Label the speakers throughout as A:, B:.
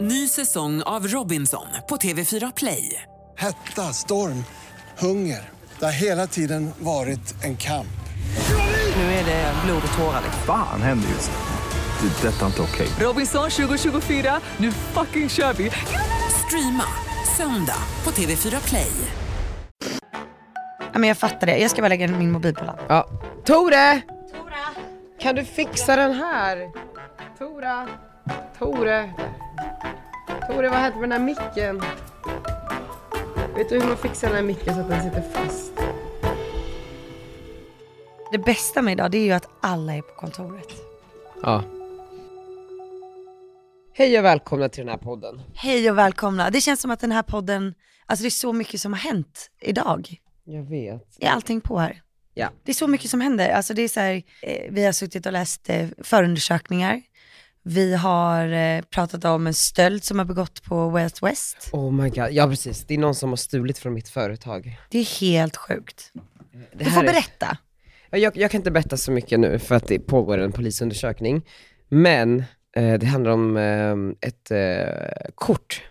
A: Ny säsong av Robinson på TV4 Play.
B: Hetta, storm, hunger. Det har hela tiden varit en kamp.
A: Nu är det blod och tårar. liksom.
C: Fan händer just nu. Det. är Detta är inte okej.
A: Robinson 2024, nu fucking kör vi! Streama söndag på TV4 Play.
D: Ja, men jag fattar det. Jag ska bara lägga min mobil på ladd.
E: Ja. Tore! Kan du fixa den här? Tora! Tore! Tore, vad hände med den här micken? Vet du hur man fixar den här micken så att den sitter fast?
D: Det bästa med idag det är ju att alla är på kontoret.
E: Ja. Hej och välkomna till den här podden.
D: Hej och välkomna. Det känns som att den här podden, alltså det är så mycket som har hänt idag.
E: Jag vet.
D: Är allting på här?
E: Ja.
D: Det är så mycket som händer. Alltså det är så här, eh, vi har suttit och läst eh, förundersökningar. Vi har eh, pratat om en stöld som har begått på West West.
E: Oh my god, ja precis. Det är någon som har stulit från mitt företag.
D: Det är helt sjukt.
E: Det
D: du
E: här
D: får
E: är-
D: berätta.
E: Ja, Jag, jag kan inte berätta så mycket nu för att det pågår en polisundersökning. Men eh, det handlar om eh, ett eh, kort.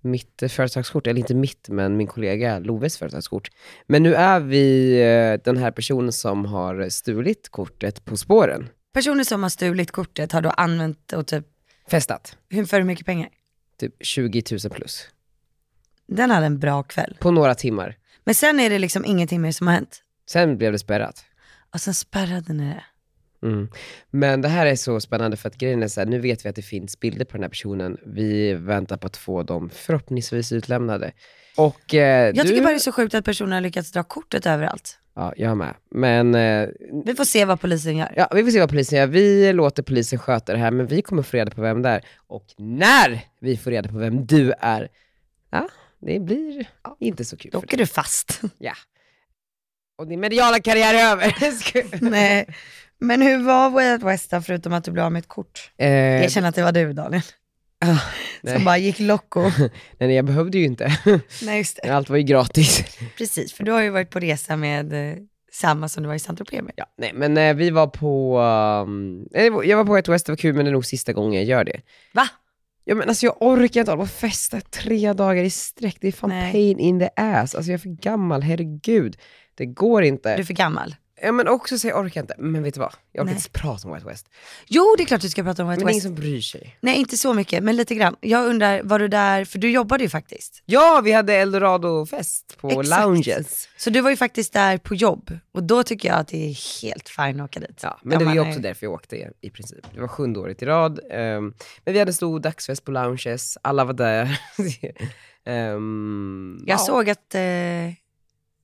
E: Mitt eh, företagskort, eller inte mitt, men min kollega Loves företagskort. Men nu är vi eh, den här personen som har stulit kortet på spåren.
D: Personer som har stulit kortet har då använt och typ,
E: Festat.
D: hur, för hur mycket pengar?
E: Typ 20 000 plus.
D: Den hade en bra kväll.
E: På några timmar.
D: Men sen är det liksom ingenting mer som har hänt.
E: Sen blev det spärrat.
D: Och sen spärrade ni det.
E: Mm. Men det här är så spännande för att grejen är så här, nu vet vi att det finns bilder på den här personen. Vi väntar på att få dem förhoppningsvis utlämnade. Och eh,
D: Jag
E: du...
D: tycker bara det är så sjukt att personen har lyckats dra kortet överallt.
E: Ja, jag med. Men eh,
D: Vi får se vad polisen gör.
E: ja, vi får se vad polisen gör. Vi låter polisen sköta det här, men vi kommer få reda på vem det är. Och när vi får reda på vem du är, ja, det blir inte så kul
D: Då
E: för
D: åker
E: dig.
D: du fast.
E: Ja. Och din mediala karriär är över. Sku-
D: Nej. Men hur var Way Out West då, förutom att du blev av med ett kort?
E: Eh,
D: Jag känner att det var du Daniel,
E: nej.
D: som bara gick loco.
E: nej, jag behövde ju inte.
D: Nej just det.
E: Allt var ju gratis.
D: Precis, för du har ju varit på resa med eh, samma som du var i Saint Tropez med.
E: Ja, nej men eh, vi var på, ehm, eh, jag var på ett West, det var kul men det är nog sista gången jag gör det.
D: Va?
E: Ja men alltså jag orkar inte hålla på och festa tre dagar i sträck, det är fan
D: Nej.
E: pain in the ass. Alltså jag är för gammal, herregud. Det går inte.
D: Du är för gammal.
E: Ja men också så jag orkar inte, men vet du vad? Jag orkar
D: Nej.
E: inte prata om White West.
D: Jo, det är klart du ska prata om Way
E: Men
D: Out
E: det är ingen
D: West.
E: som bryr sig.
D: Nej, inte så mycket, men lite grann. Jag undrar, var du där, för du jobbade ju faktiskt.
E: Ja, vi hade Eldorado-fest på
D: Exakt.
E: lounges.
D: Så du var ju faktiskt där på jobb, och då tycker jag att det är helt fine att åka dit.
E: Ja, men det var ju
D: man
E: också
D: är-
E: därför jag åkte i princip. Det var sjunde året i rad. ehm, men vi hade en stor dagsfest på lounges, alla var där. Ehm,
D: Jag
E: ja.
D: såg att, eh,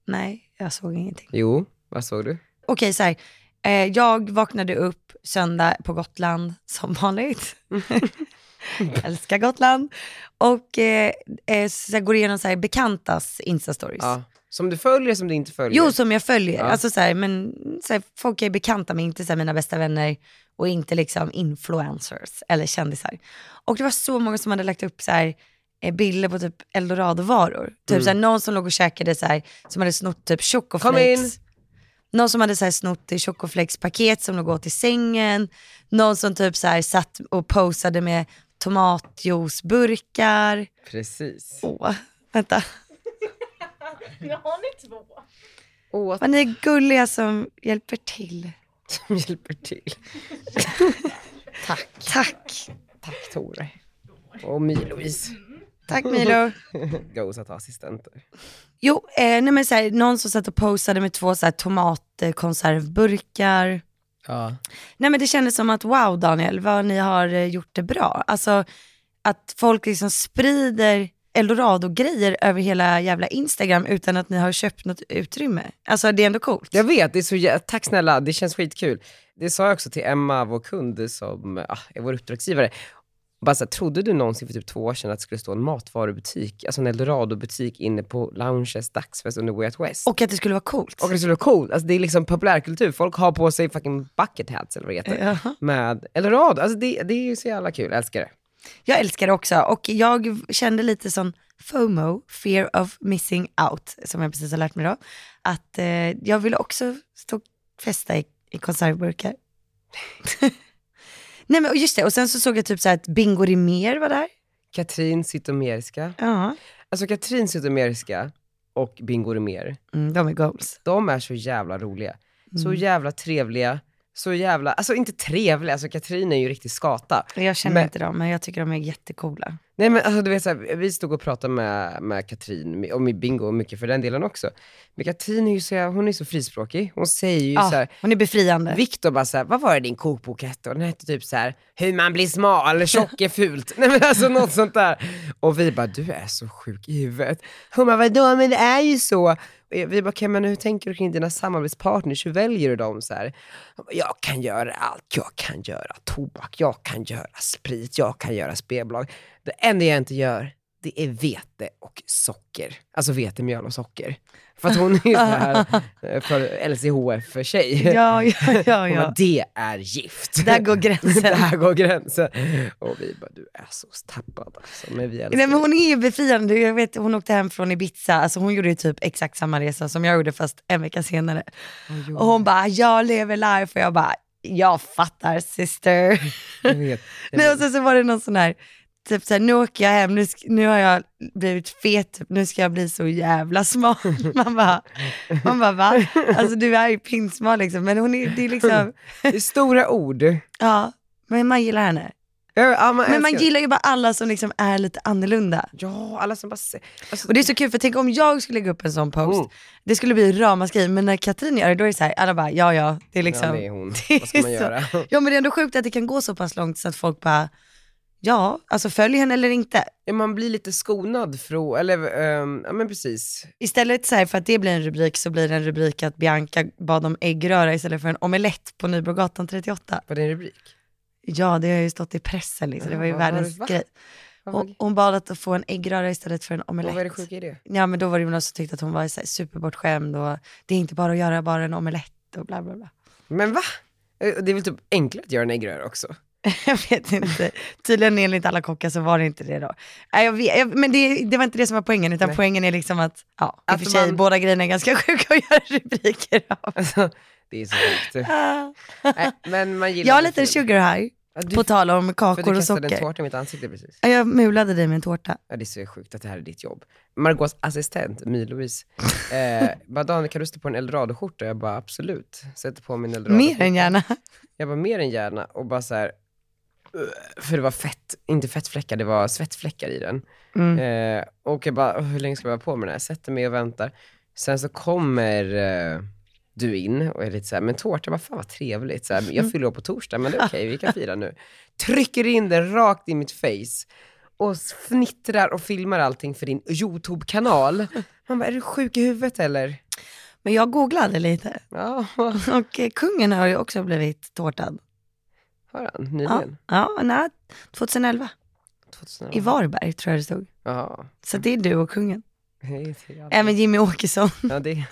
D: nej, jag såg ingenting.
E: Jo, vad såg du?
D: Okej, så här. Eh, jag vaknade upp söndag på Gotland som vanligt. Älskar Gotland. Och eh, eh, så jag går igenom så här, bekantas Insta-stories.
E: Ja. Som du följer, som du inte följer.
D: Jo, som jag följer.
E: Ja.
D: Alltså, så här, men, så här, folk jag är bekanta med, inte så här, mina bästa vänner och inte liksom influencers eller kändisar. Och det var så många som hade lagt upp så här, eh, bilder på typ Eldorado-varor. Typ
E: Mm.
D: så här, någon som låg och käkade så här, som hade snott typ
E: in.
D: chocoflakes. Någon som hade så här, snott i chocoflakes-paket som låg åt i sängen. Någon som typ så här, satt och posade med tomatjuiceburkar.
E: Precis.
D: Åh, vänta.
E: Åh,
D: Vad ni är gulliga som hjälper till.
E: som hjälper till.
D: Tack.
E: Tack Tore. Och My-Louise.
D: Tack Milo.
E: Goes att ha assistenter.
D: Jo, eh, nej men så här, någon som satt och posade med två så här tomatkonservburkar.
E: Ja.
D: Nej men det kändes som att wow Daniel, vad ni har eh, gjort det bra. Alltså att folk liksom sprider eldorado-grejer över hela jävla Instagram utan att ni har köpt något utrymme. Alltså det är ändå coolt.
E: Jag vet, det är så jä- tack snälla, det känns skitkul. Det sa jag också till Emma, vår kund som ah, är vår uppdragsgivare. Bara så här, trodde du någonsin för typ två år sedan att det skulle stå en matvarubutik, alltså en Eldorado-butik inne på lounges dagsfest under Way Out West?
D: Och att det skulle vara coolt.
E: Och det skulle vara coolt. Alltså det är liksom populärkultur. Folk har på sig fucking bucket hats eller vad det heter.
D: Jaha.
E: Med Eldorado. Alltså det, det är ju så jävla kul. Jag älskar det.
D: Jag älskar det också och jag kände lite sån FOMO, fear of missing out, som jag precis har lärt mig då. Att eh, jag ville också stå och festa i, i konservburkar. Nej men och just det, och sen så såg jag typ så här att Bingo Rimér var där.
E: Katrin Zytomierska.
D: Ja,
E: Alltså Katrin Zytomierska och Bingo mer.
D: mm, de är goals.
E: de är så jävla roliga. Så jävla trevliga. Så jävla, alltså inte trevliga, alltså Katrin är ju riktigt skata.
D: Jag känner
E: Men-
D: inte dem, men jag tycker de är jättecoola.
E: Nej men alltså du vet såhär, vi stod och pratade med, med Katrin, och med Bingo och mycket för den delen också. Men Katrin är ju så, jävla- hon är så frispråkig. Hon säger ju så
D: Ja,
E: såhär,
D: hon är befriande.
E: Viktor bara såhär, vad var det din kokbok hette? Och den hette typ såhär, hur man blir smal, tjock är fult. Nej men alltså något sånt där. Och vi bara, du är så sjuk i huvudet. Hon bara, vadå men det är ju så. Och Vi bara, okej men hur tänker du kring dina samarbetspartners? Hur väljer du dem? Så här, Hon bara, jag kan göra allt, jag kan göra tobak, jag kan göra sprit, jag kan göra spelbolag. Det enda jag inte gör, det är vete och socker. Alltså vetemjöl och socker. För att hon är ju så här eh, för LCHF-tjej.
D: Ja, ja, ja.
E: Hon bara,
D: ja.
E: det är gift.
D: Där går gränsen.
E: Där går gränsen. Och vi bara, du är så tappad alltså. Men vi älskar
D: Nej, men
E: dig.
D: hon är ju befriande. Jag vet, hon åkte hem från Ibiza, alltså, hon gjorde ju typ exakt samma resa som jag gjorde fast en vecka senare. Och hon bara, jag lever life och jag bara, jag fattar sister.
E: Jag vet. Nej,
D: Nej, och
E: men,
D: sen så var det någon sån här, typ såhär, nu åker jag hem, nu, sk- nu har jag blivit fet, typ. nu ska jag bli så jävla smal. Man bara, man bara va? Alltså du är ju pinsmal liksom, men hon är, det är liksom,
E: det är stora ord. Jag-
D: ja, men man gillar henne.
E: Ja,
D: Men
E: man
D: man
E: älskar-
D: gillar ju bara alla som liksom är lite annorlunda.
E: Ja, alla som bara se- alltså,
D: Och det är så kul, för tänk om jag skulle lägga upp en sån post,
E: Mm.
D: det skulle bli ramaskri, men när Katrin gör det, då är det såhär, alla bara, ja ja, det är liksom,
E: Ja, det är hon. Vad ska
D: är
E: man
D: så-
E: göra?
D: ja men det är ändå sjukt att det kan gå så pass långt så att folk bara, ja, alltså följ henne eller inte.
E: Ja, man blir lite skonad från, eller ehm, ja men precis.
D: Istället så här, för att det blir en rubrik så blir det en rubrik att Bianca bad om äggröra istället för en omelett på Nybrogatan 38.
E: Vad är en rubrik?
D: Ja, det har ju stått i pressen liksom. Det var ju
E: Ja, vad var
D: världens
E: det? Va?
D: grej.
E: Vad var
D: Och
E: det?
D: hon bad att få en äggröra istället för en
E: Och
D: omelett.
E: vad är det sjuka i det?
D: Ja, men då var det ju någon som tyckte att hon var så här, superbortskämd och det är inte bara att göra bara en omelett och bla bla bla.
E: Men va? Eh, Det är väl typ enklare att göra en äggröra också?
D: Jag vet inte. Tydligen enligt alla kockar så var det inte det då. Nej, jag vet, jag, men det, det var inte det som var poängen, utan
E: Nej.
D: poängen är liksom att, ja, i och
E: Att
D: för sig,
E: man-
D: båda grejerna är ganska sjuka att göra rubriker av.
E: Alltså, det är så sjukt. Nej, men man gillar
D: Jag har
E: det
D: en liten
E: kul.
D: sugar high,
E: Ja, du-
D: på tal om
E: För
D: kakor
E: du
D: och
E: kastade en
D: socker.
E: tårta i mitt ansikte precis.
D: Ja, Jag mulade dig med en tårta.
E: Ja, det är så sjukt att det här är ditt jobb. Margots assistent, My-Louise, eh, bara Daniel kan du sätta på en eldorado-skjorta? Jag bara absolut, sätter på min eldorado
D: Mer än gärna.
E: Jag bara mer än gärna och bara så här, "Ugh", för det var fett, inte fettfläckar, det var svettfläckar i den.
D: Mm.
E: Eh, och jag bara, "Åh, hur länge ska jag vara på med den här? Sätter mig och väntar. Sen så kommer eh, du in och är lite så här, men tårta, vad fan vad trevligt. Så här, jag
D: Mm.
E: fyller upp på torsdag, men det är okej, vi kan fira nu. Trycker in den rakt i mitt face och fnittrar och filmar allting för din YouTube-kanal. Man bara, är du sjuk i huvudet eller?
D: Men jag googlade lite
E: Ja,
D: och eh, kungen har ju också blivit tårtad.
E: har han
D: Ja,
E: nyligen?
D: ja nej, 2011
E: 2000
D: i Varberg tror jag det stod.
E: Ja,
D: Så det är du och kungen.
E: det är tre alltid.
D: Även Jimmy Åkesson.
E: Ja, det,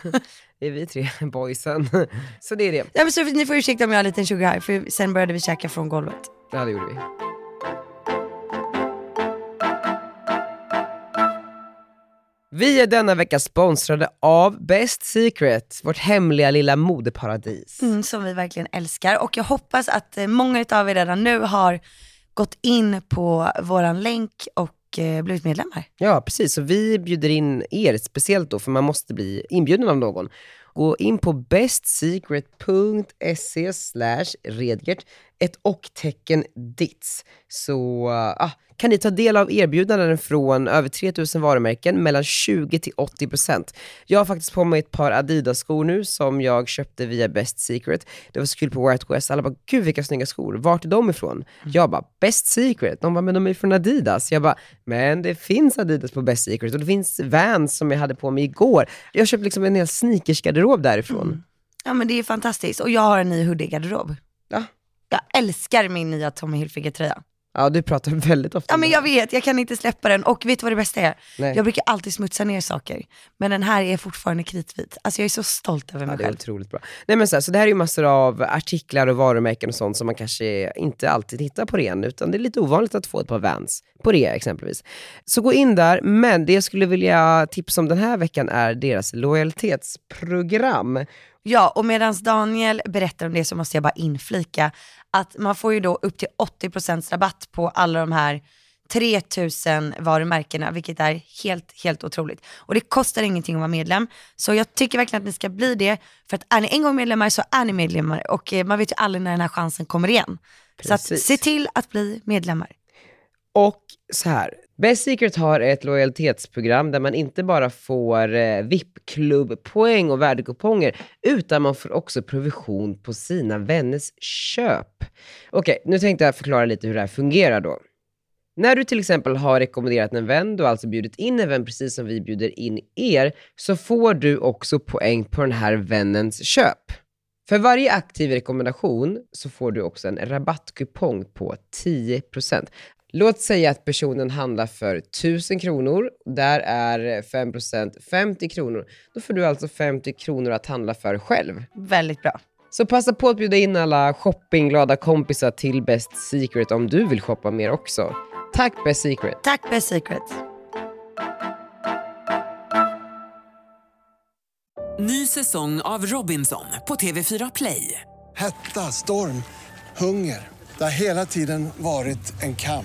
E: det är vi tre boysen. Så det är det.
D: Ja, men så ni får ursäkta om jag har en liten sugar high, för sen började vi käka från golvet.
E: Ja, det gjorde vi. Vi är denna vecka sponsrade av Best Secret, vårt hemliga lilla modeparadis.
D: Mm, som vi verkligen älskar. Och jag hoppas att eh, många av er redan nu har gått in på våran länk och eh, blivit medlemmar.
E: Ja, precis. Så vi bjuder in er speciellt då, för man måste bli inbjuden av någon. Gå in på bestsecret.se slash redgert, ett och tecken dits. Så ah, kan ni ta del av erbjudanden från över 3000 varumärken mellan 20 till 80 procent. Jag har faktiskt på mig ett par Adidas-skor nu som jag köpte via Best Secret. Det var så kul på White West, alla bara “Gud vilka snygga skor, vart är de ifrån?”
D: Mm.
E: Jag bara “Best Secret”, de bara “Men de är från Adidas”. Jag bara “Men det finns Adidas på Best Secret och det finns Vans som jag hade på mig igår”. Jag köpte liksom en hel sneakersgarderob därifrån.
D: Mm. Ja men det är fantastiskt. Och jag har en ny hoodie-garderob.
E: Ja.
D: Jag älskar min nya Tommy Hilfiger-tröja.
E: Ja, du pratar väldigt ofta
D: Ja
E: om
D: men
E: det.
D: jag vet, jag kan inte släppa den. Och vet du vad det bästa är?
E: Nej.
D: Jag brukar alltid smutsa ner saker. Men den här är fortfarande kritvit. Alltså jag är så stolt över mig
E: Ja, det är
D: själv.
E: otroligt bra. Nej, men så, här, så det här är ju massor av artiklar och varumärken och sånt som man kanske inte alltid hittar på ren, utan det är lite ovanligt att få ett par Vans på rea exempelvis. Så gå in där, men det jag skulle vilja tipsa om den här veckan är deras lojalitetsprogram.
D: Ja, och medan Daniel berättar om det så måste jag bara inflika att man får ju då upp till 80% rabatt på alla de här 3000 varumärkena, vilket är helt, helt otroligt. Och det kostar ingenting att vara medlem, så jag tycker verkligen att ni ska bli det. För att är ni en gång medlemmar så är ni medlemmar och eh, man vet ju aldrig när den här chansen kommer igen. Så att
E: Precis.
D: se till att bli medlemmar.
E: Och så här, Best Secret har ett lojalitetsprogram där man inte bara får eh, VIP-klubbpoäng och värdekuponger, utan man får också provision på sina vänners köp. Okej, nu tänkte jag förklara lite hur det här fungerar då. När du till exempel har rekommenderat en vän, du har alltså bjudit in en vän precis som vi bjuder in er, så får du också poäng på den här vännens köp. För varje aktiv rekommendation så får du också en rabattkupong på 10%. Låt säga att personen handlar för 1000 kronor, där är 5% 50 kronor. Då får du alltså 50 kronor att handla för själv.
D: Väldigt bra.
E: Så passa på att bjuda in alla shoppingglada kompisar till Best Secret om du vill shoppa mer också. Tack Best Secret!
D: Tack Best Secret.
A: Ny säsong av Robinson på TV4 Play.
B: Hetta, storm, hunger. Det har hela tiden varit en kamp.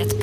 F: Ett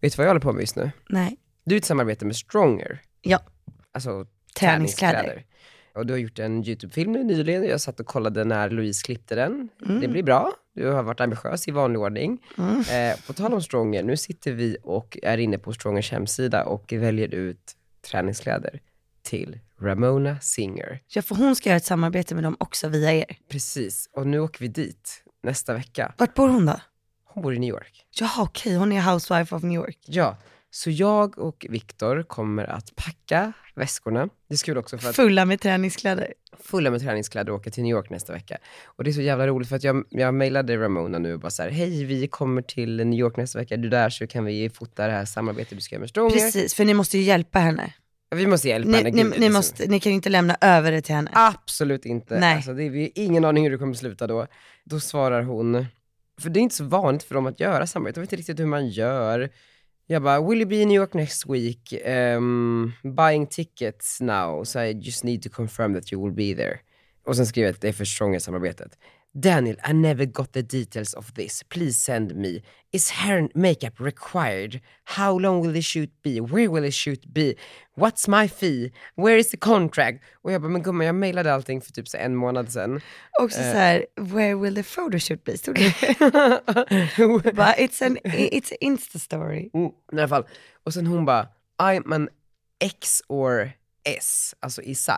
E: Vet du vad jag håller på med just nu?
D: Nej.
E: Du är i ett samarbete med Stronger,
D: Ja.
E: alltså
D: Träningskläder.
E: Och du har gjort en YouTube-film nu nyligen, jag satt och kollade när Louise klippte den. Det blir bra, du har varit ambitiös i vanlig ordning. Eh, på tal om Stronger, nu sitter vi och är inne på Strongers hemsida och väljer ut träningskläder till Ramona Singer.
D: Ja, för hon ska göra ett samarbete med dem också via er.
E: Precis, och nu åker vi dit nästa vecka.
D: Vart bor hon då?
E: Hon bor i New York.
D: Jaha okej, hon är housewife of New York.
E: Ja, så jag och Viktor kommer att packa väskorna. Det är så kul också för att
D: Fulla med träningskläder.
E: fulla med träningskläder och åka till New York nästa vecka. Och det är så jävla roligt för att jag, jag mejlade Ramona nu och bara så här, hej vi kommer till New York nästa vecka, är du där så kan vi fota det här samarbetet du ska göra med Stronger.
D: Precis, för ni måste ju hjälpa henne.
E: Vi måste hjälpa
D: Ni,
E: henne.
D: ni,
E: Gud, Ah.
D: ni,
E: liksom.
D: måste, ni kan ju inte lämna över det till henne.
E: Absolut inte.
D: Nej.
E: Alltså, det, vi har ingen aning hur det kommer sluta då. Då svarar hon, för det är inte så vanligt för dem att göra samarbete, jag vet inte riktigt hur man gör. Jag bara, will you be in New York next week? Ehm, buying tickets now, so I just need to confirm that you will be there. Och sen skriver jag att det är för Stronger-samarbetet. Daniel, I never got the details of this. Please send me. Is hair and makeup required? How long will the shoot be? Where will the shoot be? What's my fee? Where is the contract? Och jag bara, men gumman jag mejlade allting för typ så en månad sedan.
D: Också
E: Eh.
D: så här, where will the photoshoot be? Stod det? Bara, it's an it's an insta story.
E: Mm, I alla fall. Och sen hon bara, I'm an X or S, alltså i size.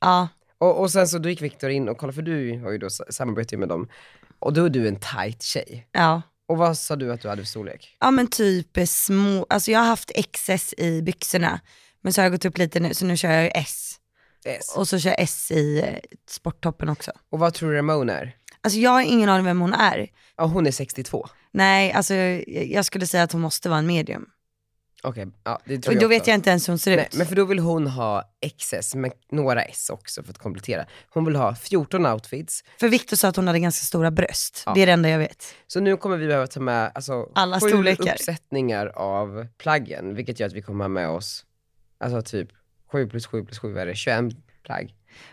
D: Ja,
E: Och, och sen så då gick Viktor in och kollade, för du har ju då sa- samarbetar ju med dem. Och då är du en tight tjej.
D: ja.
E: Och vad sa du att du hade för storlek?
D: Ja men typ eh, små, alltså jag har haft XS i byxorna. Men så har jag gått upp lite nu, så nu kör jag S.
E: S.
D: Och så kör jag S i eh, sporttoppen också.
E: Och vad tror du Ramona är?
D: Alltså jag har ingen aning vem hon är.
E: Ja, hon är 62.
D: Nej, alltså jag, jag skulle säga att hon måste vara en medium.
E: Okej, ja, det tror
D: Och då
E: jag
D: vet
E: också.
D: jag inte ens hur hon ser
E: Nej,
D: ut.
E: men för då vill hon ha XS, men några S också för att komplettera. Hon vill ha 14 outfits.
D: För Victor sa att hon hade ganska stora bröst.
E: Ja.
D: Det är det enda jag vet.
E: Så nu kommer vi behöva ta med alltså,
D: Alla
E: sju
D: storlekar.
E: uppsättningar av plaggen, vilket gör att vi kommer ha med oss, alltså typ 7 plus 7 plus 7 är det 21 plagg.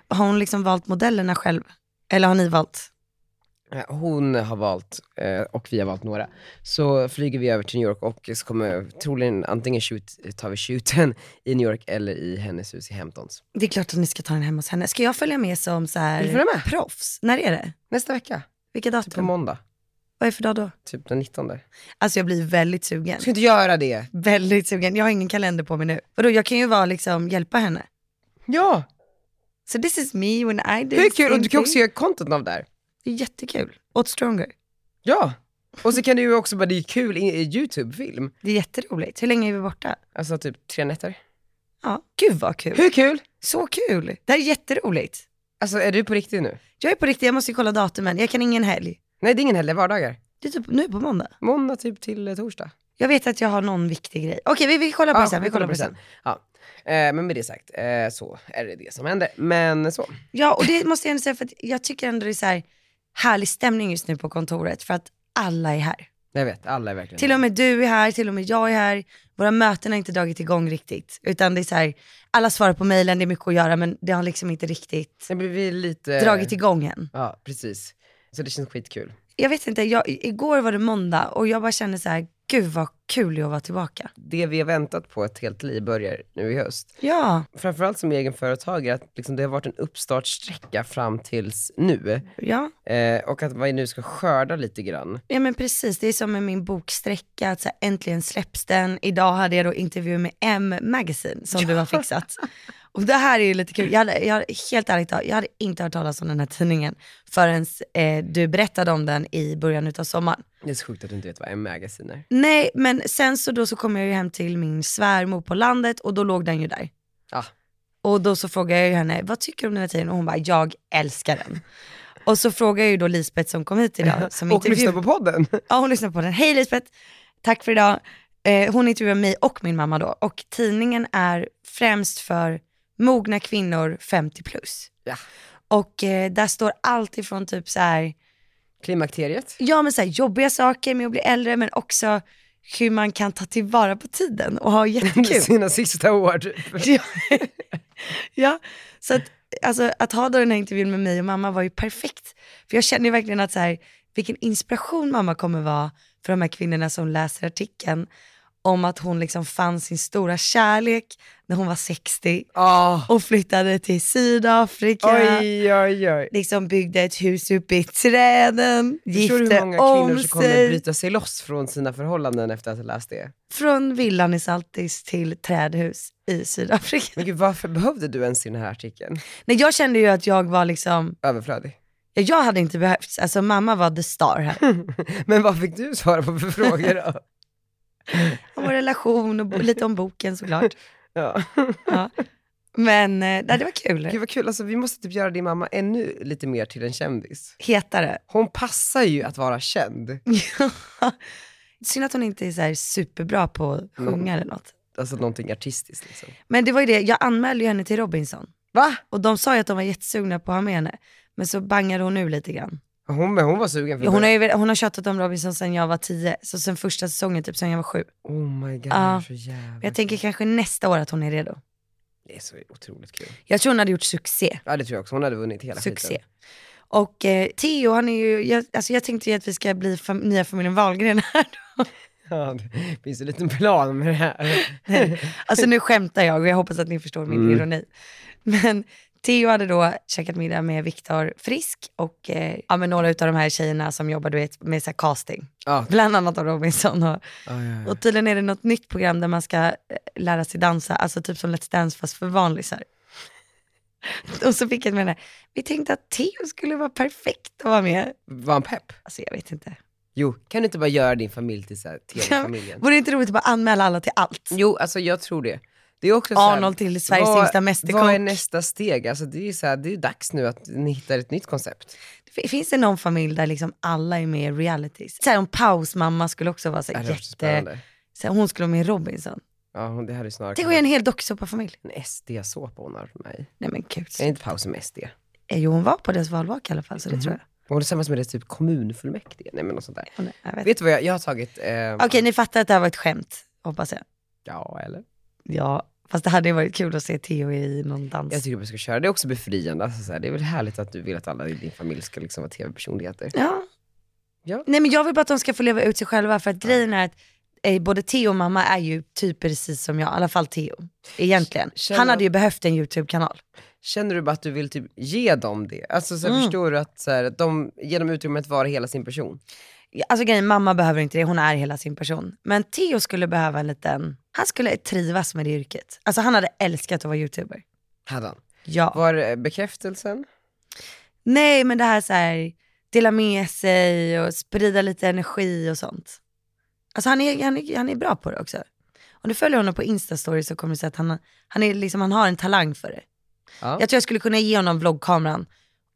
D: Har hon liksom valt modellerna själv? Eller har ni valt?
E: Eh, Hon har valt, eh, och vi har valt några. Så flyger vi över till New York och så kommer troligen antingen shoot, tar vi shooten i New York eller i hennes hus i Hamptons.
D: Det är klart att ni ska ta den hem hos henne. Ska jag följa med som så
E: Vill du följa
D: här
E: med?
D: proffs? När är det?
E: Nästa vecka,
D: Vilka
E: typ på
D: datum?
E: måndag,
D: Vad är för dag då?
E: typ den 19.
D: Alltså jag blir väldigt sugen.
E: Jag ska inte göra det.
D: Väldigt sugen. Jag har ingen kalender på mig nu. Vadå, jag kan ju vara liksom, hjälpa henne.
E: Ja,
D: Så this is me when I do
E: det är kul och du kan
D: something.
E: också göra content av det här.
D: Det är jättekul. Åt Stronger.
E: Ja, och så kan du ju också bara, det är kul i i YouTube-film.
D: Det är jätteroligt. Hur länge är vi borta?
E: Alltså typ tre nätter.
D: Ja. Gud vad kul.
E: Hur kul?
D: Så kul. Det här är jätteroligt.
E: Alltså är du på riktigt nu?
D: Jag är på riktigt, jag måste ju kolla datumen. Jag kan ingen helg.
E: Nej det är ingen helg, det är vardagar.
D: Det är typ nu på måndag.
E: Måndag typ till eh, torsdag.
D: Jag vet att jag har någon viktig grej. Okej, vi, vi kollar på det sen. Vi kollar på det sen.
E: Ja. Eh, men med det sagt, eh, så är det det som händer. Men så.
D: Ja, och det måste jag ändå säga för att jag tycker ändå det är så här härlig stämning just nu på kontoret för att alla är här.
E: Jag vet, alla är verkligen
D: Till och med du är här, till och med jag är här. Våra möten har inte dragit igång riktigt. Utan det är så här, alla svarar på mejlen, det är mycket att göra men det har liksom inte riktigt
E: Det blir vi lite...
D: dragit igång än.
E: Ja, precis. Så det känns skitkul.
D: Jag vet inte, jag, igår var det måndag och jag bara kände så här, gud vad kul det är att vara tillbaka.
E: Det vi har väntat på ett helt liv börjar nu i höst.
D: Ja,
E: Framförallt som egenföretagare, att liksom det har varit en uppstartsträcka fram tills nu.
D: ja.
E: Eh, och att man nu ska skörda lite grann.
D: Ja men precis, det är som med min boksträcka, att så här, äntligen släpps den. Idag hade jag då intervju med M Magazine som du har fixat. Och det här är ju lite kul, jag hade, jag, hade- helt ärligt jag hade inte hört talas om den här tidningen förrän eh, du berättade om den i början utav sommaren.
E: Det är så sjukt att du inte vet vad en magasin är.
D: Nej men sen så då så kom jag ju hem till min svärmor på landet och då låg den ju där.
E: Ja.
D: Och då så frågade jag ju henne, vad tycker du om den här tidningen? Och hon bara, jag älskar den. Och så frågade jag ju då Lisbeth som kom hit idag, som
E: Och lyssna
D: intervjuade
E: på podden.
D: Ja, hon lyssnar på den. Hej Lisbeth, tack för idag. Eh, hon intervjuar mig och min mamma då. Och tidningen är främst för mogna kvinnor 50 plus.
E: Ja.
D: Och eh, där står allt ifrån typ så här,
E: Klimakteriet.
D: ja men så här jobbiga saker med att bli äldre, men också hur man kan ta tillvara på tiden och ha jättekul.
E: Sina sista år typ.
D: Ja. ja, så att, alltså, att ha då den här intervjun med mig och mamma var ju perfekt. För jag känner ju verkligen att så här, vilken inspiration mamma kommer vara för de här kvinnorna som läser artikeln om att hon liksom fann sin stora kärlek när hon var 60
E: Ah.
D: och flyttade till Sydafrika.
E: Oj, oj, oj.
D: Liksom byggde ett hus uppe i träden,
E: Förstår du hur
D: gifte
E: många kvinnor
D: om
E: som kommer
D: sig.
E: bryta sig loss från sina förhållanden efter att ha läst det?
D: Från villan i Saltis till trädhus i Sydafrika.
E: Men gud, varför behövde du ens i den här artikeln?
D: Nej, jag kände ju att jag var liksom
E: Överflödig.
D: Ja, Jag hade inte behövts, alltså mamma var the star här.
E: Men vad fick du svara på för frågor då?
D: Om vår relation och bo- lite om boken såklart.
E: Ja.
D: Ja. Men eh, nej, det var kul.
E: Gud vad kul, alltså, vi måste typ göra din mamma ännu lite mer till en kändis.
D: Hetare.
E: Hon passar ju att vara känd.
D: Synd att hon inte är så här superbra på att sjunga eller något.
E: Alltså någonting artistiskt liksom.
D: Men det var ju det, jag anmälde ju henne till Robinson.
E: Va?
D: Och de sa ju att de var jättesugna på att ha med henne. Men så bangade hon nu lite grann.
E: Hon, men hon var sugen. För
D: Ja, Hon har, ju, hon har tjatat om Robinson sedan jag var tio, så sen första säsongen, typ sen jag var sju.
E: Oh my god,
D: Ja.
E: så
D: Men
E: jävla
D: Jag tänker kanske nästa år att hon är redo.
E: Det är så otroligt kul.
D: Jag tror hon hade gjort succé.
E: Ja det tror jag också, hon hade vunnit hela
D: succé.
E: skiten.
D: Och eh, Theo, han är ju, jag, alltså jag tänkte ju att vi ska bli fam- nya familjen Wahlgren här då.
E: Ja, det finns en liten plan med det här.
D: Alltså nu skämtar jag och jag hoppas att ni förstår min ironi. Men Theo hade då käkat middag med Viktor Frisk och eh, ja, men några av de här tjejerna som jobbar du vet, med så här casting.
E: Ja.
D: Bland annat av Robinson. Och,
E: Ja, ja, ja.
D: och tydligen är det något nytt program där man ska eh, lära sig dansa, alltså typ som Let's Dance fast för vanlisar. Och så fick jag med den här, vi tänkte att Theo skulle vara perfekt att vara med.
E: Var han pepp?
D: Alltså jag vet inte.
E: Jo, kan du inte bara göra din familj till så här tv-familjen?
D: Vore det inte roligt att bara anmäla alla till allt?
E: Jo, alltså jag tror det. Det är också så här,
D: Arnold till Sveriges
E: vad-
D: yngsta
E: Vad är
D: mästerkock.
E: nästa steg? Alltså det är ju så här, det är ju dags nu att ni hittar ett nytt koncept.
D: F- Finns det någon familj där liksom alla är med i realities? Så här, om Paus mamma skulle också vara så
E: Det
D: här,
E: här är så
D: jätte...
E: spännande.
D: Så här, hon skulle vara med i Robinson.
E: Ja, hon- det här är snarare
D: Tänk att göra en hel dokusåpafamilj.
E: en SD-såpa hon har med mig.
D: Nej men gud.
E: Är inte paus med SD?
D: Eh, Jo hon var på deras valvaka i alla fall så det
E: Mhm.
D: tror jag.
E: Hon är tillsammans med det typ kommunfullmäktige, nej men något sånt där.
D: Hon är- jag vet.
E: Vet du vad jag, jag har tagit? Eh,
D: Okej ni fattar att det här var ett skämt, hoppas jag.
E: Ja, eller?
D: Ja, fast det hade ju varit kul att se Theo i någon dans.
E: Jag tycker vi ska köra. Det är också befriande. Alltså, så här, det är väl härligt att du vill att alla i din familj ska liksom vara tv-personligheter.
D: Ja.
E: Ja.
D: Nej men jag vill bara att de ska få leva ut sig själva för att grejen är att eh, både Theo och mamma är ju typ precis som jag, i alla fall Theo. Egentligen.
E: Känner
D: Han hade
E: de-
D: ju behövt en YouTube-kanal.
E: Känner du bara att du vill typ ge dem det? Alltså så här,
D: Mm.
E: förstår du att så här, att de, ge dem utrymme att vara hela sin person?
D: Alltså grejen, mamma behöver inte det, hon är hela sin person. Men Theo skulle behöva en liten, han skulle trivas med det yrket. Alltså han hade älskat att vara YouTuber.
E: Hade han.
D: Ja.
E: Var eh, bekräftelsen?
D: Nej men det här så här, dela med sig och sprida lite energi och sånt. Alltså han är, han är, han är bra på det också. Och Om du följer honom på Instastory så kommer du se att han, han, är liksom, han har en talang för det.
E: Ja.
D: Jag tror jag skulle kunna ge honom vloggkameran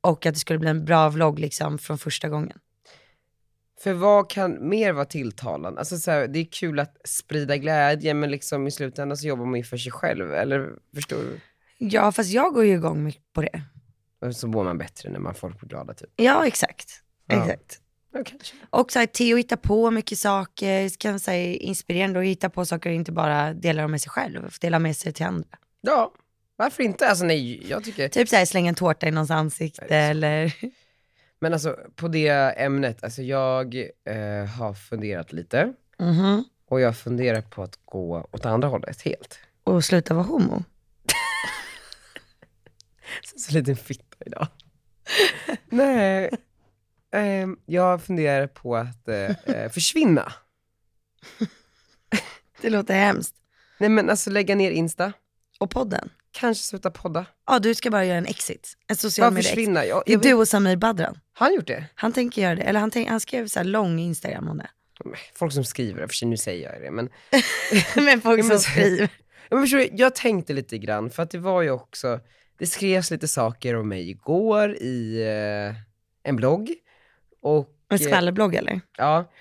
D: och att det skulle bli en bra vlogg liksom från första gången.
E: För vad kan mer vara tilltalande? Alltså så här, det är kul att sprida glädje, men liksom i slutändan så jobbar man ju för sig själv, eller förstår du?
D: Ja, fast jag går ju igång mycket på det.
E: Och Så mår man bättre när man får folk glada typ.
D: Ja, exakt.
E: Ja.
D: Exakt.
E: Ja, kanske.
D: Och så här, Theo hittar på mycket saker, så kan säga inspirerande och hitta på saker och inte bara dela dem med sig själv, dela med sig till andra.
E: Ja, varför inte? Alltså nej, jag tycker...
D: Typ så här, slänga en tårta i någons ansikte eller...
E: Men alltså på det ämnet, alltså jag eh, har funderat lite.
D: Mhm.
E: Och jag funderar på att gå åt andra hållet helt.
D: Och sluta vara homo.
E: Så- Så liten fitta idag. nej, ehm, jag funderar på att eh, eh, försvinna.
D: Det låter hemskt.
E: Nej men alltså lägga ner Insta,
D: Och podden?
E: kanske sluta podda.
D: Ja, du ska bara göra en exit. En social
E: Bara
D: media exit.
E: försvinna. Jag,
D: Det är
E: jag,
D: du och Samir Badran.
E: Har han gjort det?
D: Han tänker göra det. Eller han, tänk, han skrev så här lång Instagram om det.
E: Folk som skriver, för sig, nu säger jag det men.
D: Men folk
E: Ja,
D: som
E: men-
D: skriver.
E: Ja, Men förstår du, jag tänkte lite grann, för att det var ju också, det skrevs lite saker om mig igår i eh, en blogg. Och, eh,
D: En skvallerblogg eller?
E: ja,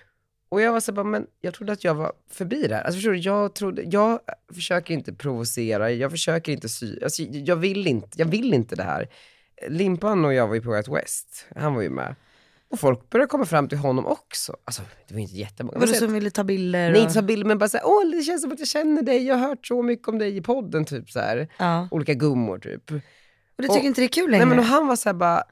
E: och jag var så här bara, men jag trodde att jag var förbi där. Alltså förstår du, jag, trodde, jag försöker inte provocera, jag försöker inte sy, alltså, jag, vill inte, jag vill inte det här. Limpan och jag var ju på Way West, han var ju med. Och folk började komma fram till honom också. Alltså det var inte jättemånga.
D: Vadå
E: Men så-
D: som ville ta bilder?
E: Nej,
D: och-
E: inte ta bilder, men bara såhär, åh det känns som att jag känner dig, jag har hört så mycket om dig i podden, typ så här.
D: Ja.
E: Olika gummor typ.
D: Och du tycker
E: och-
D: inte det är kul längre?
E: Nej men och han var såhär bara,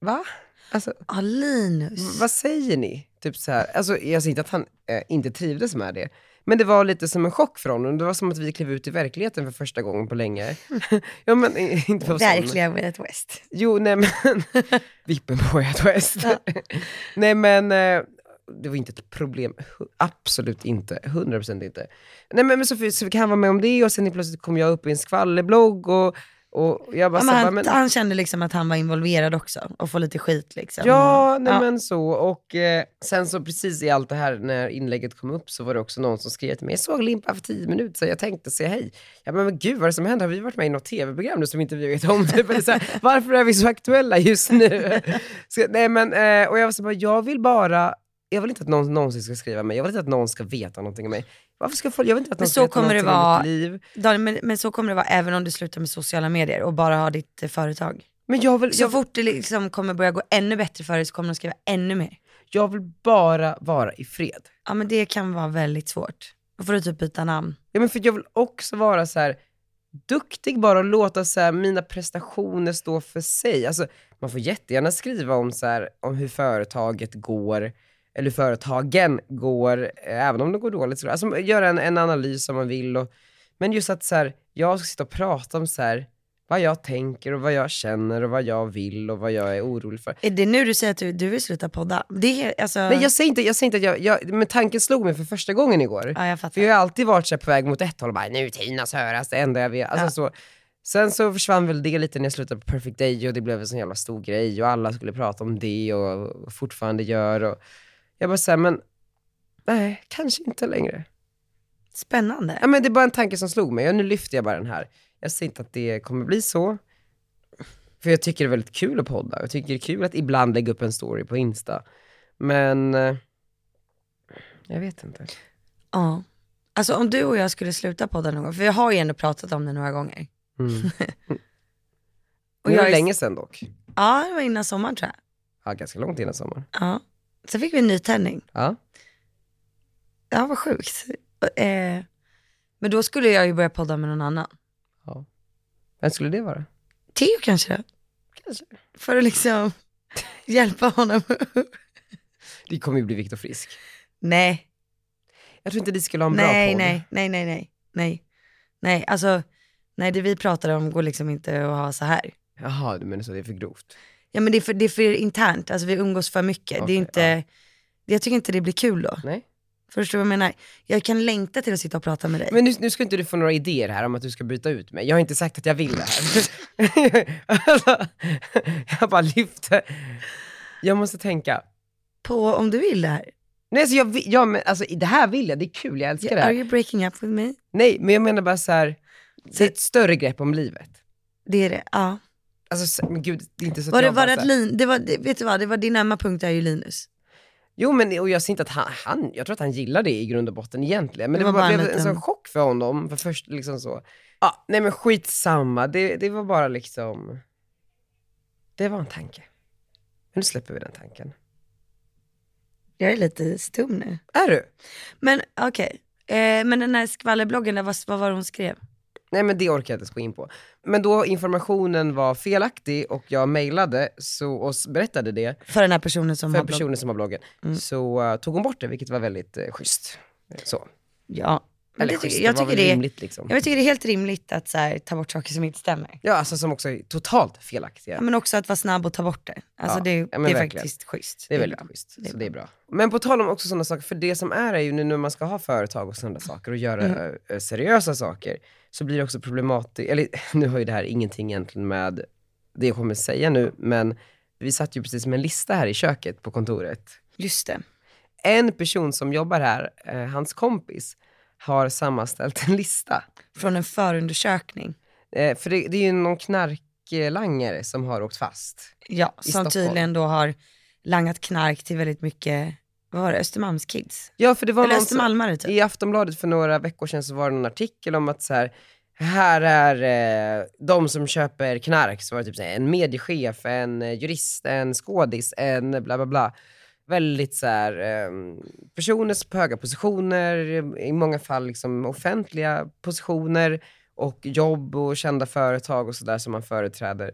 E: va? Alltså,
D: ah, Linus.
E: vad säger ni? Typ så här. Alltså, jag säger inte att han eh, inte trivdes med det, men det var lite som en chock för honom. Det var som att vi klev ut i verkligheten för första gången på länge. ja men, eh, inte på
D: Verkligen Way Out West.
E: Jo, nej men, vippen på Way West. nej men, eh, det var inte ett problem. Hu- Absolut inte. 100% inte. Nej men, men så, fick- så fick han vara med om det och sen plötsligt kom jag upp i en skvallerblogg och, och jag bara
D: Ja,
E: så
D: men
E: här, bara,
D: han,
E: men,
D: han kände liksom att han var involverad också och får lite skit liksom.
E: Ja, nej
D: Ja.
E: men så. Och eh, sen så precis i allt det här, när inlägget kom upp, så var det också någon som skrev till mig, jag såg Limpa för tio minuter så jag tänkte säga hej. Jag bara, men gud vad är det som händer? Har vi varit med i något tv-program nu som inte vi vet om? Typ, eller så här, varför är vi så aktuella just nu? så, nej men, eh, och jag var så bara, jag vill bara, jag vill inte att någon någonsin ska skriva mig, jag vill inte att någon ska veta någonting om mig. Varför ska folk, jag vill inte att
D: Men
E: någon ska
D: så
E: veta
D: kommer det
E: någonting om
D: vara-
E: mitt liv.
D: Daniel, men, men så kommer det vara även om du slutar med sociala medier och bara har ditt eh, företag.
E: Men jag vill,
D: Så
E: jag,
D: fort det liksom kommer börja gå ännu bättre för dig så kommer de skriva ännu mer.
E: jag vill bara vara i fred.
D: Ja men det kan vara väldigt svårt. Då får du typ byta namn.
E: Ja, men för jag vill också vara så här duktig bara och låta så här, mina prestationer stå för sig. Alltså, man får jättegärna skriva om, så här, om hur företaget går, eller hur företagen går, eh, även om det går dåligt. Så, alltså, göra en, en analys om man vill. Och, men just att så här, jag ska sitta och prata om så här, vad jag tänker och vad jag känner och vad jag vill och vad jag är orolig för.
D: Är det nu du säger att du, du vill sluta podda? Det är alltså...
E: Nej, jag säger inte, jag säger inte att jag, jag, men tanken slog mig för första gången igår.
D: Ja jag fattar.
E: För jag har alltid varit så här på väg mot ett håll och bara, nu Tinas höras, det enda jag vet. Alltså, så. Sen så försvann väl det lite när jag slutade på Perfect Day och det blev en sån jävla stor grej och alla skulle prata om det och, och fortfarande gör. Och jag bara såhär, men nej, kanske inte längre.
D: Spännande.
E: Ja, men det är bara en tanke som slog mig och nu lyfter jag bara den här. Jag säger inte att det kommer bli så. För jag tycker det är väldigt kul att podda. Jag tycker det är kul att ibland lägga upp en story på Insta. Men eh, jag vet inte.
D: Ja. Alltså om du och jag skulle sluta podda någon gång, för vi har ju ändå pratat om det några gånger.
E: Mm.
D: Och
E: det
D: jag
E: var
D: är-
E: länge sedan dock.
D: Ja, det var innan sommaren tror jag.
E: Ja, ganska långt innan sommaren.
D: Ja. Sen fick vi en ny tändning.
E: Ja.
D: Ja, vad sjukt. Eh, men då skulle jag ju börja podda med någon annan.
E: Vem skulle det vara?
D: Theo kanske då?
E: Kanske.
D: För att liksom hjälpa honom.
E: Det kommer ju bli Viktor Frisk.
D: nej,
E: Jag tror inte ni skulle ha en bra
D: nej,
E: podd.
D: nej, nej, nej, nej, nej, nej, alltså, nej, det vi pratar om går liksom inte att ha så här.
E: Jaha, du menar så det är för grovt.
D: Ja, men det är för, det är för internt, alltså vi umgås för mycket. det
E: Okej,
D: är inte, jag tycker inte det blir kul då.
E: Nej.
D: Förstår du vad jag menar? Jag kan längta till att sitta och prata med dig.
E: Men nu, nu ska inte du få några idéer här om att du ska byta ut mig. Jag har inte sagt att jag vill det här. alltså, jag bara lyfter. Jag måste tänka.
D: På om du vill det här.
E: Nej, så jag, vi- ja, men, alltså, det här vill jag, det är kul, jag älskar det
D: Are
E: här.
D: you breaking up with me?
E: Nej, men jag menar bara så här, det är ett större grepp om livet.
D: Det är det, ja.
E: Alltså, så- men gud, det är inte så
D: Var
E: att
D: det
E: jag bara
D: var det
E: så
D: att
E: här-
D: Lin, det var, det, vet du vad, det var din ömma punkt är ju Linus.
E: Jo, men och jag ser inte att han, han, jag tror att han gillar det i grund och botten egentligen. Men det,
D: Det var
E: var bara,
D: bara en
E: blev en
D: liten-
E: sån chock för honom, för först liksom så. Ja, nej men skitsamma, det, det var bara liksom, det var en tanke. Men nu släpper vi den tanken.
D: Jag är lite stum nu.
E: Är du?
D: Men okej, eh, men den här skvallerbloggen, där, vad, vad var det hon skrev?
E: Nej men det orkar jag inte ens gå in på. Men då informationen var felaktig och jag mejlade så, och s- berättade det
D: För den här personen som
E: för
D: har blogg.
E: personen som har bloggen, så eh, tog hon bort det vilket var väldigt uh, schysst. Så.
D: Ja. Men
E: Eller
D: det,
E: schysst,
D: tycker-
E: det
D: jag,
E: var
D: tycker
E: väl
D: det,
E: rimligt liksom.
D: jag tycker det är helt rimligt att så här, ta bort saker som inte stämmer.
E: Ja, alltså som också är totalt felaktiga.
D: Ja, men också att vara snabb och ta bort det. Alltså
E: Ja,
D: det,
E: ja,
D: är-
E: men
D: det är
E: verkligen.
D: faktiskt schysst.
E: Det är
D: bra.
E: väldigt schysst.
D: Det är
E: så det är bra. Men på tal om också sådana saker, för det som är är ju nu när man ska ha företag och sådana saker och göra eh, seriösa saker, så blir det också problematiskt, eller nu har ju det här ingenting egentligen med det jag kommer säga nu, men vi satt ju precis med en lista här i köket på kontoret.
D: Just det.
E: En person som jobbar här, eh, hans kompis, har sammanställt en lista.
D: Från en förundersökning.
E: Eh, för det, det är ju någon knarklangare som har åkt fast.
D: Ja,
E: I
D: som
E: Stockholm.
D: tydligen då har langat knark till väldigt mycket, vad var det, Östermalmskids?
E: Ja, för det var
D: Eller
E: någon som-
D: Östermalmare typ.
E: I Aftonbladet för några veckor sedan så var det någon artikel om att så här, här är eh, de som köper knark, så var det typ så här, en mediechef, en eh, jurist, en skådis, en bla bla bla. Väldigt så här, eh, personer på höga positioner, i många fall liksom offentliga positioner och jobb och kända företag och sådär som man företräder.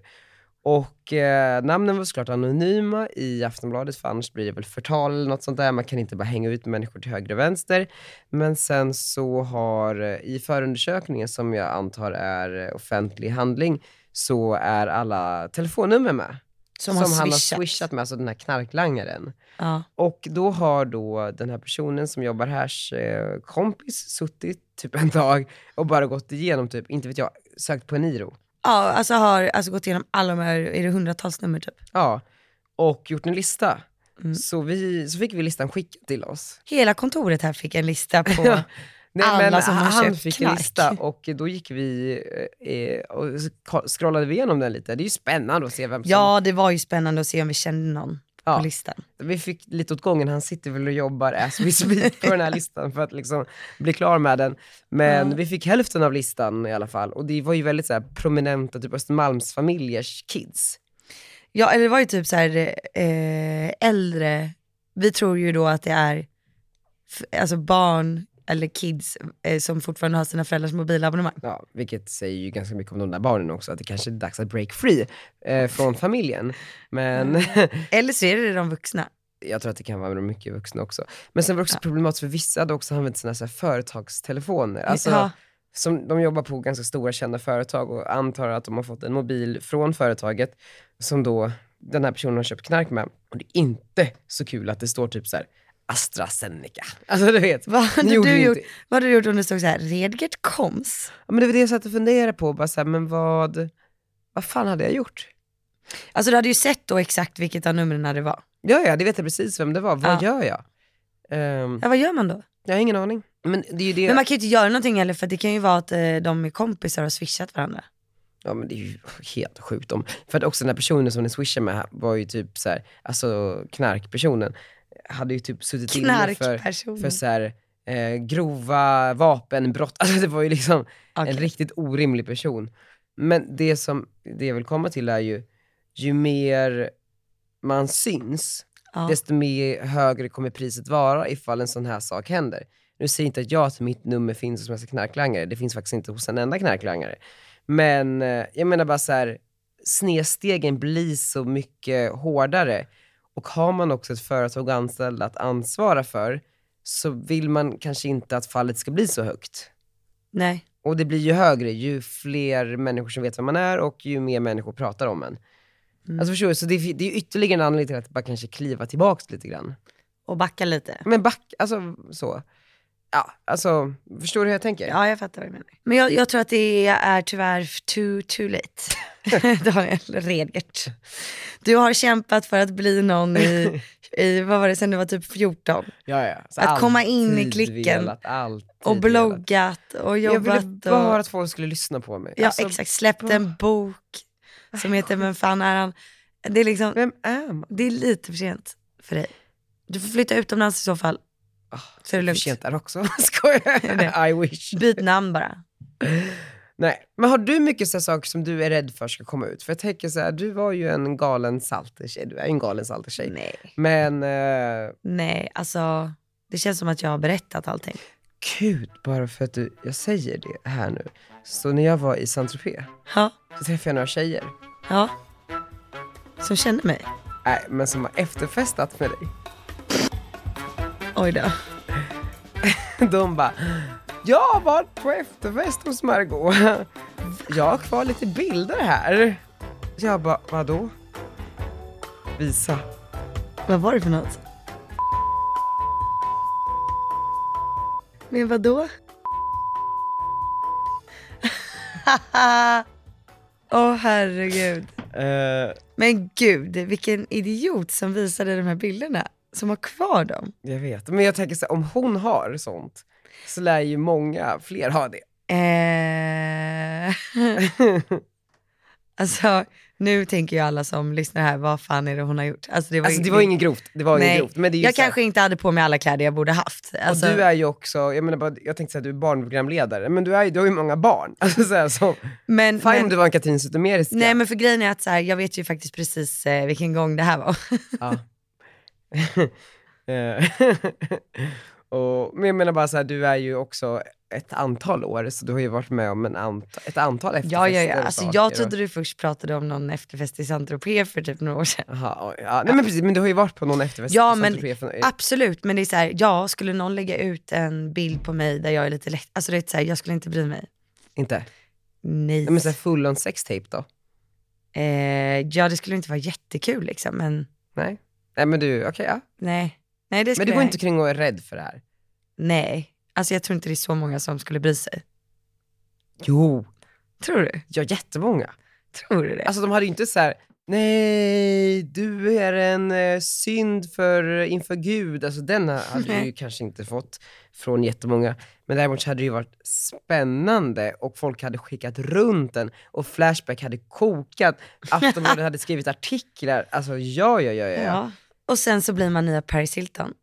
E: Och eh, namnen var såklart anonyma i Aftonbladet, för annars blir det väl förtal eller något sånt där. Man kan inte bara hänga ut människor till höger och vänster. Men sen så har, eh, i förundersökningen som jag antar är eh, offentlig handling, så är alla telefonnummer med.
D: Som, har
E: han har
D: swishat.
E: swishat med, alltså den här knarklangaren.
D: Ja.
E: Och då har då den här personen som jobbar här, eh, kompis, suttit typ en dag och bara gått igenom, typ, inte vet jag, sökt på Eniro.
D: ja, alltså har alltså gått igenom alla de här, är det hundratals nummer typ?
E: Ja, och gjort en lista.
D: Mm.
E: Så, vi, så fick vi listan skickad till oss.
D: Hela kontoret här fick en lista på,
E: Nej,
D: Alla
E: men
D: som har
E: han
D: köpt
E: fick en
D: knark.
E: lista och då gick vi eh, och så ko- scrollade vi igenom den lite. Det är ju spännande att se vem som...
D: ja det var ju spännande att se om vi kände någon
E: Ja.
D: på listan.
E: Vi fick lite åt gången, han sitter väl och jobbar as we speak på den här listan för att liksom bli klar med den. Men vi fick hälften av listan i alla fall och det var ju väldigt så här, prominenta, typ Östermalmsfamiljers kids.
D: Ja, eller det var ju typ så här eh, äldre, vi tror ju då att det är f- alltså barn eller kids eh, som fortfarande har sina föräldrars mobilabonnemang.
E: Ja, vilket säger ju ganska mycket om de där barnen också, att det kanske är dags att break free eh, från familjen. Men
D: Eller så är det de vuxna.
E: jag tror att det kan vara mycket vuxna också. Men sen var det också problematiskt för vissa hade också använt sina så här, företagstelefoner. Alltså,
D: Ja.
E: som de jobbar på ganska stora kända företag och antar att de har fått en mobil från företaget som då den här personen har köpt knark med. Och det är inte så kul att det står typ så här AstraZeneca. Alltså du vet.
D: Vad
E: ni
D: hade,
E: gjorde ju
D: du gjort,
E: inte-
D: vad hade du gjort om det stod så här, Redgert Koms?
E: Ja, men det var det jag satt och funderade på. Bara så här, men vad, vad fan hade jag gjort?
D: Alltså du hade ju sett då exakt vilket av numren det var.
E: Ja, ja, det vet jag precis vem det var.
D: Ja.
E: Vad gör jag? Ehm,
D: Ja, vad gör man då?
E: jag har ingen aning. Men det är ju det.
D: Men man kan ju inte göra någonting heller för det kan ju vara att eh, de är kompisar och har swishat varandra.
E: Ja men det är ju helt sjukt om. För att också den här personen som ni swishade med här var ju typ så här, alltså knarkpersonen, hade ju typ suttit inne för,
D: Knarkpersonen.
E: för så här, eh, grova vapenbrott. Alltså det var ju liksom
D: Okej.
E: en riktigt orimlig person. Men det som det jag vill komma till är ju, ju mer man syns,
D: Ja.
E: desto mer högre kommer priset vara ifall en sån här sak händer. Nu säger inte att jag att mitt nummer finns hos en massa knarklangare, det finns faktiskt inte hos en enda knarklangare. Men eh, jag menar bara så här, snedstegen blir så mycket hårdare. Och har man också ett företag och anställda att ansvara för, så vill man kanske inte att fallet ska bli så högt.
D: Nej.
E: Och det blir ju högre ju fler människor som vet vem man är och ju mer människor pratar om en. Alltså förstår du? Så det, det är ytterligare en anledning till att bara kanske kliva tillbaks lite grann.
D: Och backa lite.
E: Men back, alltså så. ja, alltså, förstår du hur jag tänker?
D: Ja, jag fattar vad du menar. Men jag, jag tror att det är tyvärr too, too late. Daniel Redgert. Du har kämpat för att bli någon i, i vad var det, sen du var typ 14.
E: ja, ja. Så
D: Att komma in i
E: alltid
D: klicken
E: velat, alltid
D: Och
E: velat.
D: bloggat och
E: Jag
D: jobbat.
E: ville bara
D: och...
E: att folk skulle lyssna på mig.
D: Ja,
E: Alltså,
D: exakt. Släppte en bok som heter Men fan är han? Det är liksom,
E: Vem är man?
D: det är lite för sent för dig. Du får flytta utomlands i så fall. Så är det
E: Ah, För
D: lugnt.
E: sent där också.
D: Är det?
E: Skojar. I wish.
D: Byt namn bara.
E: Nej. Men har du mycket så här saker som du är rädd för ska komma ut? För jag tänker så här, du var ju en galen saltertjej. Du är ju en galen saltertjej.
D: Nej.
E: Men eh,
D: Nej, alltså det känns som att jag har berättat allting.
E: gud, bara för att du, jag säger det här nu. Så när jag var i Saint-Tropez
D: Ja,
E: så träffade jag några tjejer.
D: ja. Som känner mig.
E: Nej, Äh, men som har efterfestat med dig.
D: Oj då.
E: De bara, jag har varit på efterfest hos Margot. Jag har kvar lite bilder här. Jag bara, vadå? Visa.
D: Vad var det för något? Men vad då? Åh herregud.
E: Eh,
D: Men gud, vilken idiot som visade de här bilderna. Som har kvar dem.
E: jag vet, men jag tänker så här, om hon har sånt så lär ju många fler ha det.
D: Eh... alltså, nu tänker ju alla som lyssnar här, vad fan är det hon har gjort? Alltså det var,
E: Alltså det var inget grovt, det var inget
D: Nej,
E: grovt. Men det är ju
D: jag
E: så här-
D: kanske inte hade på mig alla kläder jag borde haft. Alltså,
E: Och du är ju också, jag menar bara, jag tänkte säga att du är barnprogramledare, men du, är, ju- du har ju många barn. Alltså så här, så,
D: men,
E: fine om
D: men,
E: du var en Katrin Zytomierska.
D: nej men för grejen är att så här, jag vet ju faktiskt precis eh, vilken gång det här var.
E: Ja. Eh, och, men jag menar bara så här, du är ju också ett antal år, så du har ju varit med om en ant- ett antal efterfester.
D: ja, ja, ja.
E: och
D: Alltså,
E: saker
D: jag
E: och-
D: trodde du först pratade om någon efterfest i Saint-Tropez för typ några år sedan.
E: Jaha, oj, ja. Nej men precis, men du har ju varit på någon efterfest.
D: Ja,
E: på
D: men
E: Saint-Tropez för-
D: Absolut, men det är så här, ja, skulle någon lägga ut en bild på mig där jag är lite lätt, alltså det är så här, jag skulle inte bry mig.
E: Inte?
D: Nej.
E: Nej men såhär full on sextape då?
D: Eh, ja, det skulle inte vara jättekul liksom, men
E: Nej? Nej men du, okej ja.
D: nej. Nej, det
E: Men
D: skulle
E: du går
D: jag
E: inte kring och är rädd för det här?
D: Nej, alltså jag tror inte det är så många som skulle bry sig.
E: Jo,
D: Tror du?
E: jag har jättemånga.
D: Tror du det?
E: Alltså de hade ju inte så här. nej, du är en eh, synd för, inför Gud. Alltså den hade du ju
D: Nej.
E: kanske inte fått från jättemånga. Men däremot så hade det ju varit spännande och folk hade skickat runt den och Flashback hade kokat. Aftonbladet hade skrivit artiklar. Alltså ja, ja, ja, ja. Ja,
D: ja. Och sen så blir man nya Paris Hilton.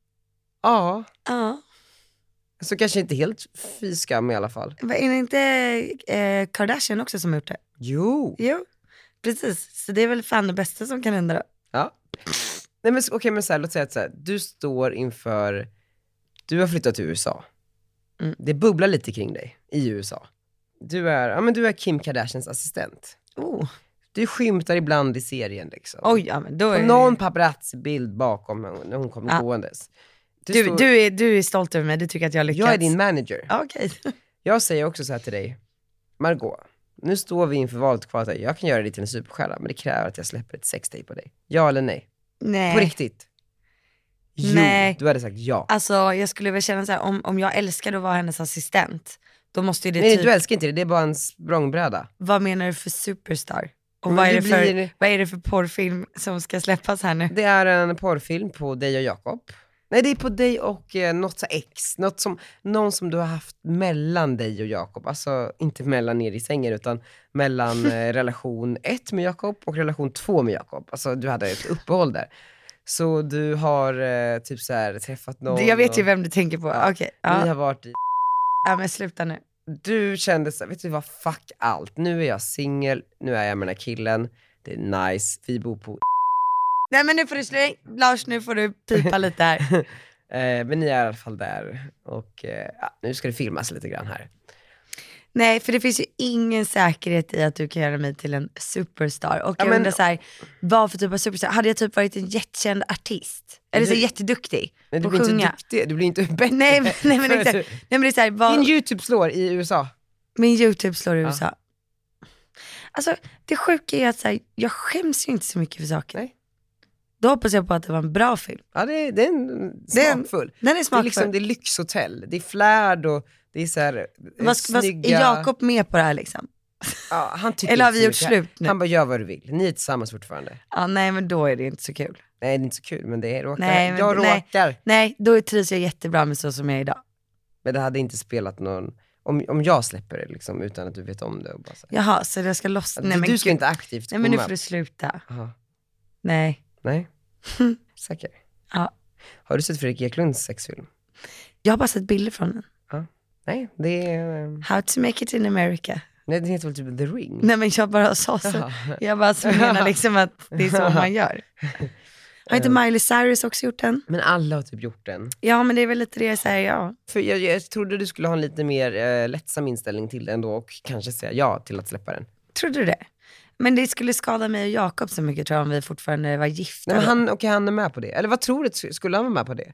E: ja.
D: Ja.
E: så kanske inte helt fy skam i alla fall.
D: Vad Är det inte eh, Kardashian också som har gjort det?
E: Jo.
D: Jo, precis. Så det är väl fan det bästa som kan hända då.
E: Ja. Nej men s- okej, men så här, låt säga att så här, du står inför, du har flyttat till USA.
D: Mm.
E: Det bubblar lite kring dig i USA. Du är, ja, men du är Kim Kardashians assistent.
D: Oh.
E: Du skymtar ibland i serien liksom.
D: Oj, ja men då
E: Och
D: är
E: någon paparazzi-bild bakom henne när hon kommer
D: Ja.
E: gåendes. Du,
D: du,
E: står-
D: du, är, du är stolt över mig, du tycker att jag har lyckats.
E: jag är din manager.
D: Ja, Okej.
E: Jag säger också så här till dig, Margot, nu står vi inför valet kvar. att Jag kan göra dig till en superstjärna, men det kräver att jag släpper ett sextape på dig. Ja eller nej?
D: Nej.
E: På riktigt? Jo,
D: Nej.
E: du hade sagt ja.
D: Alltså jag skulle väl känna så här, om, om jag älskade att vara hennes assistent, då måste ju det
E: Nej,
D: typ,
E: du älskar inte det, det är bara en språngbräda.
D: vad menar du för superstar? Och
E: Men
D: vad är,
E: det
D: det för,
E: blir-
D: vad är det för porrfilm som ska släppas här nu?
E: Det är en porrfilm på dig och Jakob. Nej, det är på dig och eh, något så ex, något som, någon som du har haft mellan dig och Jakob. Alltså inte mellan er i sängen, utan mellan eh, relation ett med Jakob och relation två med Jakob. Alltså du hade ett uppehåll där. Så du har eh, typ så här träffat någon.
D: jag vet ju
E: och
D: vem du tänker på.
E: Ja.
D: Okej,
E: Ni
D: ja.
E: har varit i
D: ja men sluta nu.
E: du kände så här, vet du vad, fuck allt. Nu är jag singel, nu är jag med den här killen, det är nice, vi bor på
D: Nej men nu får du sluta, Lars nu får du pipa lite här.
E: Eh, men ni är i alla fall där och eh, ja, nu ska det filmas lite grann här.
D: Nej, för det finns ju ingen säkerhet i att du kan göra mig till en superstar. Och
E: Ja,
D: jag
E: men-
D: undrar så här, vad för typ av superstar? Hade jag typ varit en jättekänd artist? Eller så
E: Du-
D: jätteduktig
E: Men du
D: på
E: blir
D: att
E: inte
D: sjunga?
E: duktig, du blir inte bättre.
D: Nej, men- nej, men
E: för att
D: exakt.
E: du-
D: Nej men det är så här, vad...
E: Din YouTube slår i USA.
D: Min YouTube slår i
E: Ja.
D: USA. Alltså det sjuka är att så här, jag skäms ju inte så mycket för saker.
E: Nej.
D: Då hoppas jag på att det var en bra film.
E: Ja, det, det är en
D: är en-
E: smakfull.
D: Den är
E: Det är
D: smakfull.
E: liksom, det är lyxhotell, det är flärd och det är så här, eh,
D: vad, vad, är
E: snygga...
D: Jakob med på det här liksom?
E: Ja, han tycker
D: Eller har vi
E: inte
D: gjort
E: så mycket.
D: slut nu?
E: Han bara, gör vad du vill. Ni är tillsammans fortfarande.
D: Ja, nej men då är det inte så kul.
E: Nej, det är inte så kul, men det är, råkar,
D: Nej, men-
E: jag
D: nej.
E: råkar.
D: Nej, då trivs jag jättebra med så som jag är idag.
E: Men det hade inte spelat någon, om, om jag släpper det liksom, utan att du vet om det. Och bara så här.
D: Jaha, så jag ska loss?
E: du,
D: Nej men,
E: du ska
D: gud.
E: inte aktivt
D: nej men nu
E: komma.
D: får du sluta.
E: Aha.
D: Nej.
E: Nej. Säker?
D: Ja.
E: Har du sett Fredrik Eklunds sexfilm?
D: Jag har bara sett bilder från den.
E: Nej, det är... eh,
D: How to make it in America.
E: Nej, den heter väl typ The Ring?
D: Nej men jag bara sa så.
E: Jaha. Eh.
D: Jag bara så menar liksom att det är så man gör. Har inte Miley Cyrus också gjort den?
E: Men alla har typ gjort den.
D: Ja men det är väl lite det jag säger, ja.
E: För jag, jag trodde du skulle ha en lite mer eh, lättsam inställning till den då och kanske säga ja till att släppa den.
D: Tror du det? Men det skulle skada mig och Jakob så mycket tror jag om vi fortfarande var gifta.
E: Nej, men
D: då.
E: han, okay, han är med på det. Eller vad tror du? Skulle han vara med på det?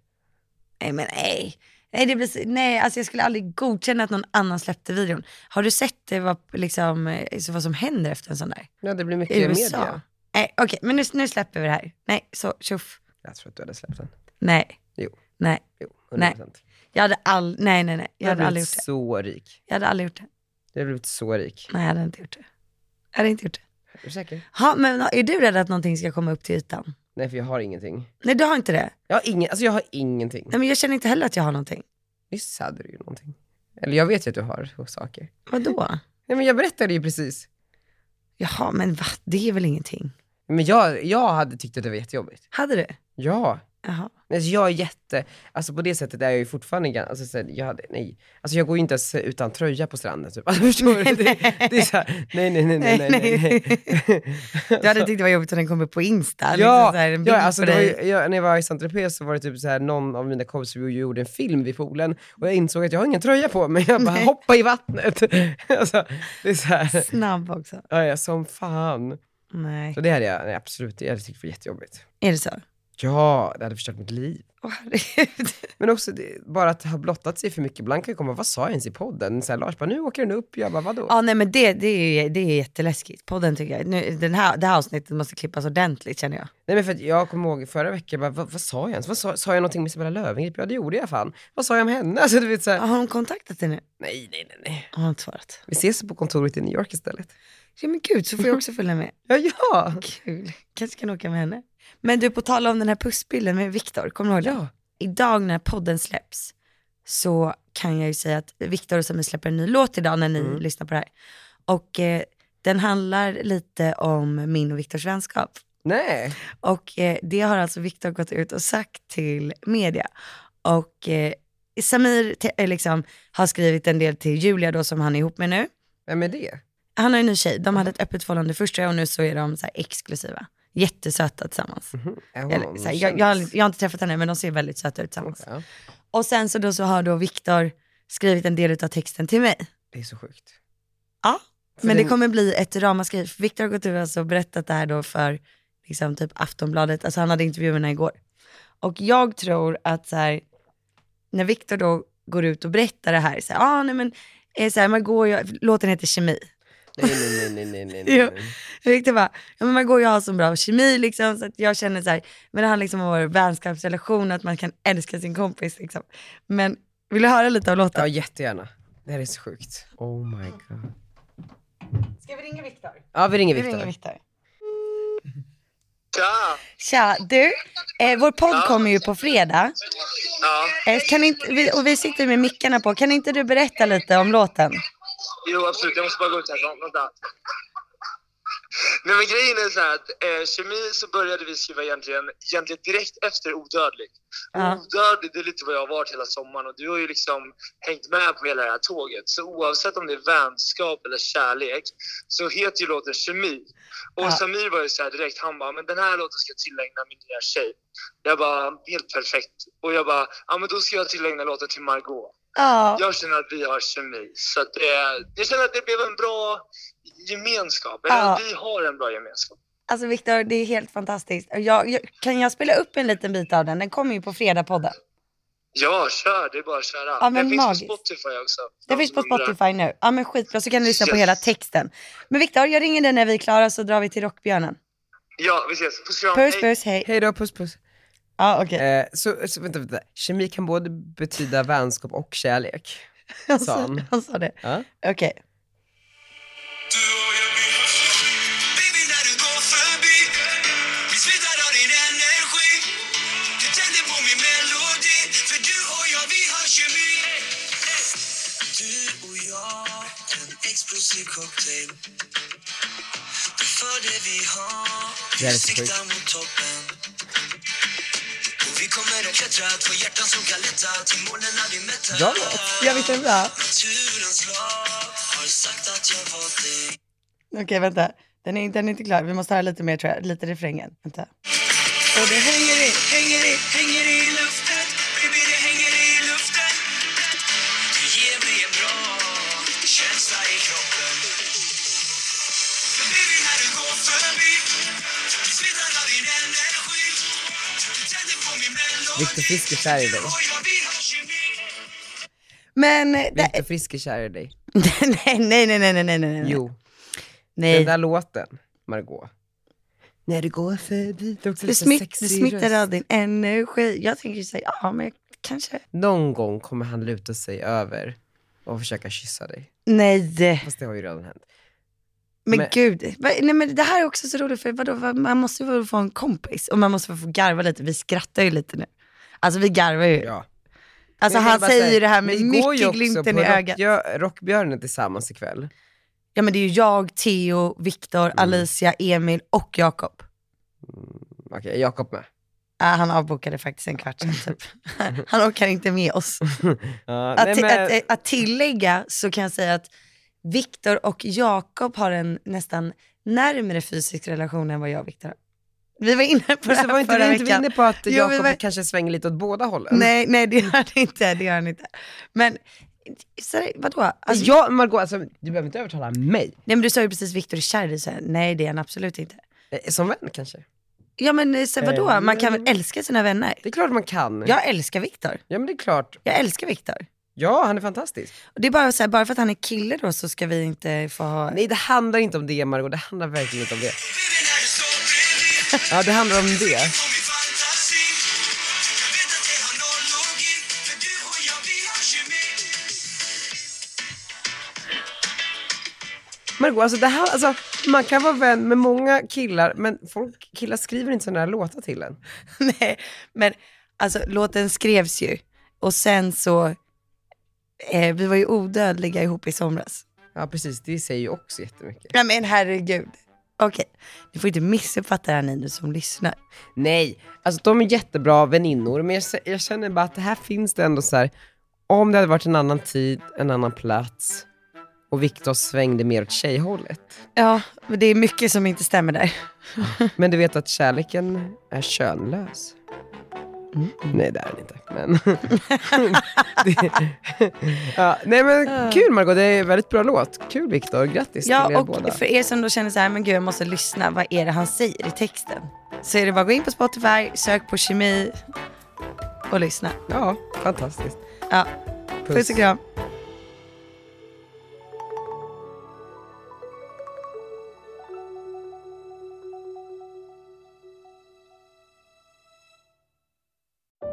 D: Nej men nej. Nej, det blir, så- nej alltså jag skulle aldrig godkänna att någon annan släppte videon. Har du sett det, vad, liksom, eh, så vad som händer efter en sån där?
E: Ja, det blir mycket
D: I USA?
E: media.
D: Nej okej, men nu, nu släpper vi det här. Nej, så tjoff.
E: Jag tror att du hade släppt den.
D: Nej.
E: Jo.
D: Nej.
E: Jo, 100%.
D: Nej, Jag hade all, nej nej nej.
E: Du
D: Jag hade aldrig
E: blivit
D: gjort det.
E: så rik.
D: Jag hade aldrig gjort det.
E: Du hade blivit så rik.
D: Nej jag hade inte gjort det. Jag hade inte gjort det.
E: Är du säker?
D: Ha, men är du rädd att någonting ska komma upp till ytan?
E: Nej, för jag har ingenting.
D: Nej du har inte det?
E: Jag har, ingen, alltså jag har ingenting.
D: Nej men jag känner inte heller att jag har någonting.
E: Nyss hade du ju någonting. Eller jag vet ju att du har saker.
D: Vadå?
E: Nej, men jag berättade ju precis.
D: Jaha men va? Det är väl ingenting?
E: Men jag, jag hade tyckt att det var jättejobbigt.
D: Hade du?
E: Ja.
D: Jaha.
E: Alltså jag är jätte, alltså på det sättet är jag ju fortfarande ganska, alltså så här, jag hade, nej. Alltså jag går ju inte ens utan tröja på stranden typ. Alltså förstår du? Det, det är såhär, nej nej nej nej nej nej.
D: Du hade tyckt det var jobbigt om den kom upp på Insta. liksom
E: Ja,
D: så här, en bild
E: ja alltså
D: på
E: det var
D: dig.
E: ju, jag, när jag var i Saint Tropez så var det typ så här, någon av mina kompisar vi gjorde en film vid poolen och jag insåg att jag har ingen tröja på mig. Jag bara hoppa i vattnet. Alltså, det är så här,
D: Snabb också.
E: ja, ja, som fan.
D: Nej.
E: Så det hade jag nej, absolut, jag hade tyckt det var jättejobbigt.
D: Är det så?
E: Ja, det hade förstört mitt liv.
D: Åh herregud.
E: Men också det, bara att ha blottat sig för mycket. Ibland kan jag komma, vad sa jag ens i podden? Så här, Lars bara, nu åker den upp. Jag bara, vadå?
D: Ja nej men det, det, är, ju- det är jätteläskigt. Podden tycker jag. Nu, den här, det här avsnittet måste klippas ordentligt känner jag.
E: Nej men för att jag kommer ihåg förra veckan, jag bara, vad, vad sa jag ens? Vad sa, sa jag någonting med Isabella Löwengrip? Ja det gjorde jag fan. Vad sa jag om henne? Alltså du vet så här,
D: Har hon kontaktat dig nu?
E: nej nej nej nej.
D: Har hon inte svarat?
E: Vi ses på kontoret i New York istället.
D: Ja men gud så får jag också följa med.
E: Ja ja!
D: Kul. Kanske kan åka med henne. Men du på tal om den här pussbilden med Viktor, kommer du ihåg den?
E: Ja.
D: Idag när podden släpps så kan jag ju säga att Viktor och Samir släpper en ny låt idag när ni lyssnar på det här. Och eh, den handlar lite om min och Viktors vänskap.
E: Nej.
D: Och eh, det har alltså Viktor gått ut och sagt till media. Och eh, Samir te- eh, liksom, har skrivit en del till Julia då som han är ihop med nu.
E: Vem är det?
D: Han har ju en ny tjej, de hade ett öppet förhållande först och nu så är de så här exklusiva. Jättesöta tillsammans.
E: Är hon
D: Eller,
E: någon
D: så här, jag, jag, har, jag har inte träffat henne men de ser väldigt söta ut tillsammans.
E: kändis? Ja,
D: Och sen så, då så har då Viktor skrivit en del av texten till mig.
E: det är så sjukt.
D: Ja,
E: För
D: men det
E: den-
D: kommer bli ett ramaskri. För Viktor har gått ut och alltså berättat det här då för liksom, typ Aftonbladet, alltså han hade intervjuerna igår. Och jag tror att så här, när Viktor då går ut och berättar det här, så här, ah, nej men, eh, så här, man går ju, låten heter Kemi.
E: Nej nej nej nej nej nej.
D: Jo.
E: nej.
D: Viktor bara, ja, men man går ju och har så bra kemi liksom, så att jag känner så här, men det handlar liksom om vår vänskapsrelation, att man kan älska sin kompis liksom. Men vill du höra lite av låten?
E: Ja jättegärna. Det här är så sjukt. Oh my god.
D: Ska vi ringa Viktor?
E: Ja vi ringer
D: Vi ringer
E: Viktor.
D: Viktor.
F: Tja!
D: Tja, du, eh, vår podd kommer ju på fredag.
F: Ja.
D: Eh, kan inte, vi, och vi sitter med mickarna på. Kan inte du berätta lite om låten?
F: Jo, absolut. Jag måste bara gå ut härifrån. Vänta. Nej, men grejen är så här att eh, kemi så började vi skriva egentligen, egentligen direkt efter Odödlig.
D: Ja.
F: Odödlig, det är lite vad jag har varit hela sommaren och du har ju liksom hängt med på hela det här tåget. Så oavsett om det är vänskap eller kärlek så heter ju låten Kemi. Och
D: Ja.
F: Samir var ju så här direkt, han bara, men den här låten ska jag tillägna min nya tjej. Jag bara, helt perfekt. Och jag bara, ja men då ska jag tillägna låten till Margot.
D: Ja,
F: Jag känner att vi har kemi. Så att, eh, jag känner att det blev en bra gemenskap. Eller
D: Ja.
F: att vi har en bra gemenskap.
D: alltså Viktor, det är helt fantastiskt. Och Jag, jag, kan jag spela upp en liten bit av den? Den kommer ju på fredagpodden.
F: Ja, kör. Det är bara att köra.
D: Ja, men
F: det
D: magiskt.
F: finns på Spotify också.
D: Den
F: De
D: finns
F: som
D: på
F: undrar.
D: Spotify nu. Ja men skitbra, så kan du lyssna på
F: Yes.
D: hela texten. Men Viktor, jag ringer dig när vi är klara så drar vi till Rockbjörnen.
F: Ja, vi ses. Puss kram.
D: Puss
F: Hej.
D: puss, hej.
E: Hej då, puss puss.
D: Ja okej.
E: Eh, så, så vänta, vänta, kemi kan både betyda vänskap och kärlek.
D: Han
E: sa
D: sa,
E: han.
D: han sa det.
E: Ja.
D: Okej.
G: Baby när du går förbi Vi smittar av din energi Du tänder på min melodi För du och jag vi har kemi Du och jag En explosiv cocktail Det är för det vi har
E: Det här är
G: Vi
E: så sjukt.
G: siktar mot toppen Och vi kommer att klättra Två hjärtan som kan lätta Till molnen när vi mättar
E: Bra låt.
D: Ja visst är det bra?
G: Naturens lag har sagt att jag valt dig
D: Okej vänta. Den är, den är inte klar. Vi måste höra lite mer tror jag. Lite refrängen. Vänta.
G: Och det hänger i, hänger i, hänger i luften Baby det hänger i luften Det ger mig en bra känsla i kroppen Baby när du går förbi Smittar av din energi Du tänder på min melodi
E: Viktor Frisk är kär i dig.
G: Och jag vill ha kemi
D: Men... eh, det-
E: Viktor Frisk är kär i dig.
D: Nej, nej, nej, nej, nej, nej, nej.
E: Jo,
D: nej.
E: den där låten, Margot. När du går förbi, det är också
D: Du,
E: lite
D: smitt,
E: sexig
D: du smittar
E: röst.
D: av din energi. Jag tänker ju säga, ja men jag kanske.
E: Någon gång kommer han luta sig över och försöka kyssa dig.
D: Nej,
E: Fast det har ju redan hänt.
D: men,
E: Men-
D: gud. Va- Nej, men det här är också så roligt för vadå, va- man måste ju väl få en kompis och man måste väl få garva lite. Vi skrattar ju lite nu. Alltså vi garvar ju.
E: Ja.
D: Alltså
E: Men jag
D: han
E: bara säga,
D: säger ju det här med
E: ni går ju
D: mycket
E: också
D: glimten
E: på
D: i ögat.
E: Rockbjör- Rockbjörnen tillsammans ikväll.
D: Ja men det är ju jag, Theo, Viktor,
E: Mm.
D: Alicia, Emil och Jakob.
E: Okej, Jakob med.
D: Äh, han avbokade faktiskt en kvart sen typ. han orkar inte med oss.
E: Ja,
D: Att,
E: nej,
D: ti-
E: men-
D: att, eh, att tillägga så kan jag säga att Viktor och Jakob har en nästan närmre fysisk relation än vad jag och Viktor har. Vi var inne på det
E: Fast det var
D: här
E: inte
D: förra
E: vi inte var
D: veckan.
E: inne på att
D: Jo, vi
E: Jakob
D: var-
E: kanske svänger lite åt båda hållen?
D: Nej, nej det gör han inte. Det gör han inte. Men så, här, vadå? Alltså,
E: Alltså, jag, Margot, alltså, du behöver inte övertala mig.
D: Nej men du sa ju precis Viktor är kär i dig, så här, nej det är han absolut inte.
E: Eh, Som vän kanske.
D: Ja men eh, så, här, vadå,
E: Eh,
D: man kan väl älska sina vänner?
E: Det är klart man kan.
D: Jag älskar Viktor.
E: Ja, men det är klart.
D: Jag älskar Viktor.
E: Ja, han är fantastisk.
D: Och Det är bara så här, bara för att han är kille då så ska vi inte få ha...
E: Nej, det handlar inte om det Margot, det handlar verkligen inte om det.
G: Baby när du står bredvid
E: Ja, det handlar om det.
G: på min fantasi Jag vet att det har noll logik För du och jag vi har kemi
E: Margot, alltså, det här, alltså, man kan vara vän med många killar, men folk, killar skriver inte sådana här låtar till en.
D: Nej, men alltså låten skrevs ju och sen så, eh, vi var ju odödliga ihop i somras.
E: Ja, precis. Det säger ju också jättemycket.
D: Nej men herregud. Okej, ni får inte missuppfatta det här ni nu som lyssnar.
E: Nej, alltså de är jättebra väninnor, men jag, se- jag känner bara att det här finns det ändå så här. om det hade varit en annan tid, en annan plats och Viktor svängde mer åt tjejhållet.
D: Ja, men det är mycket som inte stämmer där.
E: Men du vet att kärleken är könlös?
D: Mm.
E: Nej, det är den inte. Men... det... ja, nej men kul Margot, det är en väldigt bra låt. Kul Viktor, grattis till
D: Ja,
E: er
D: och
E: båda.
D: för er som då känner så här, men gud jag måste lyssna, vad är det han säger i texten? Så är det bara att gå in på Spotify, sök på kemi och lyssna.
E: Ja, fantastiskt.
D: Ja, puss och kram.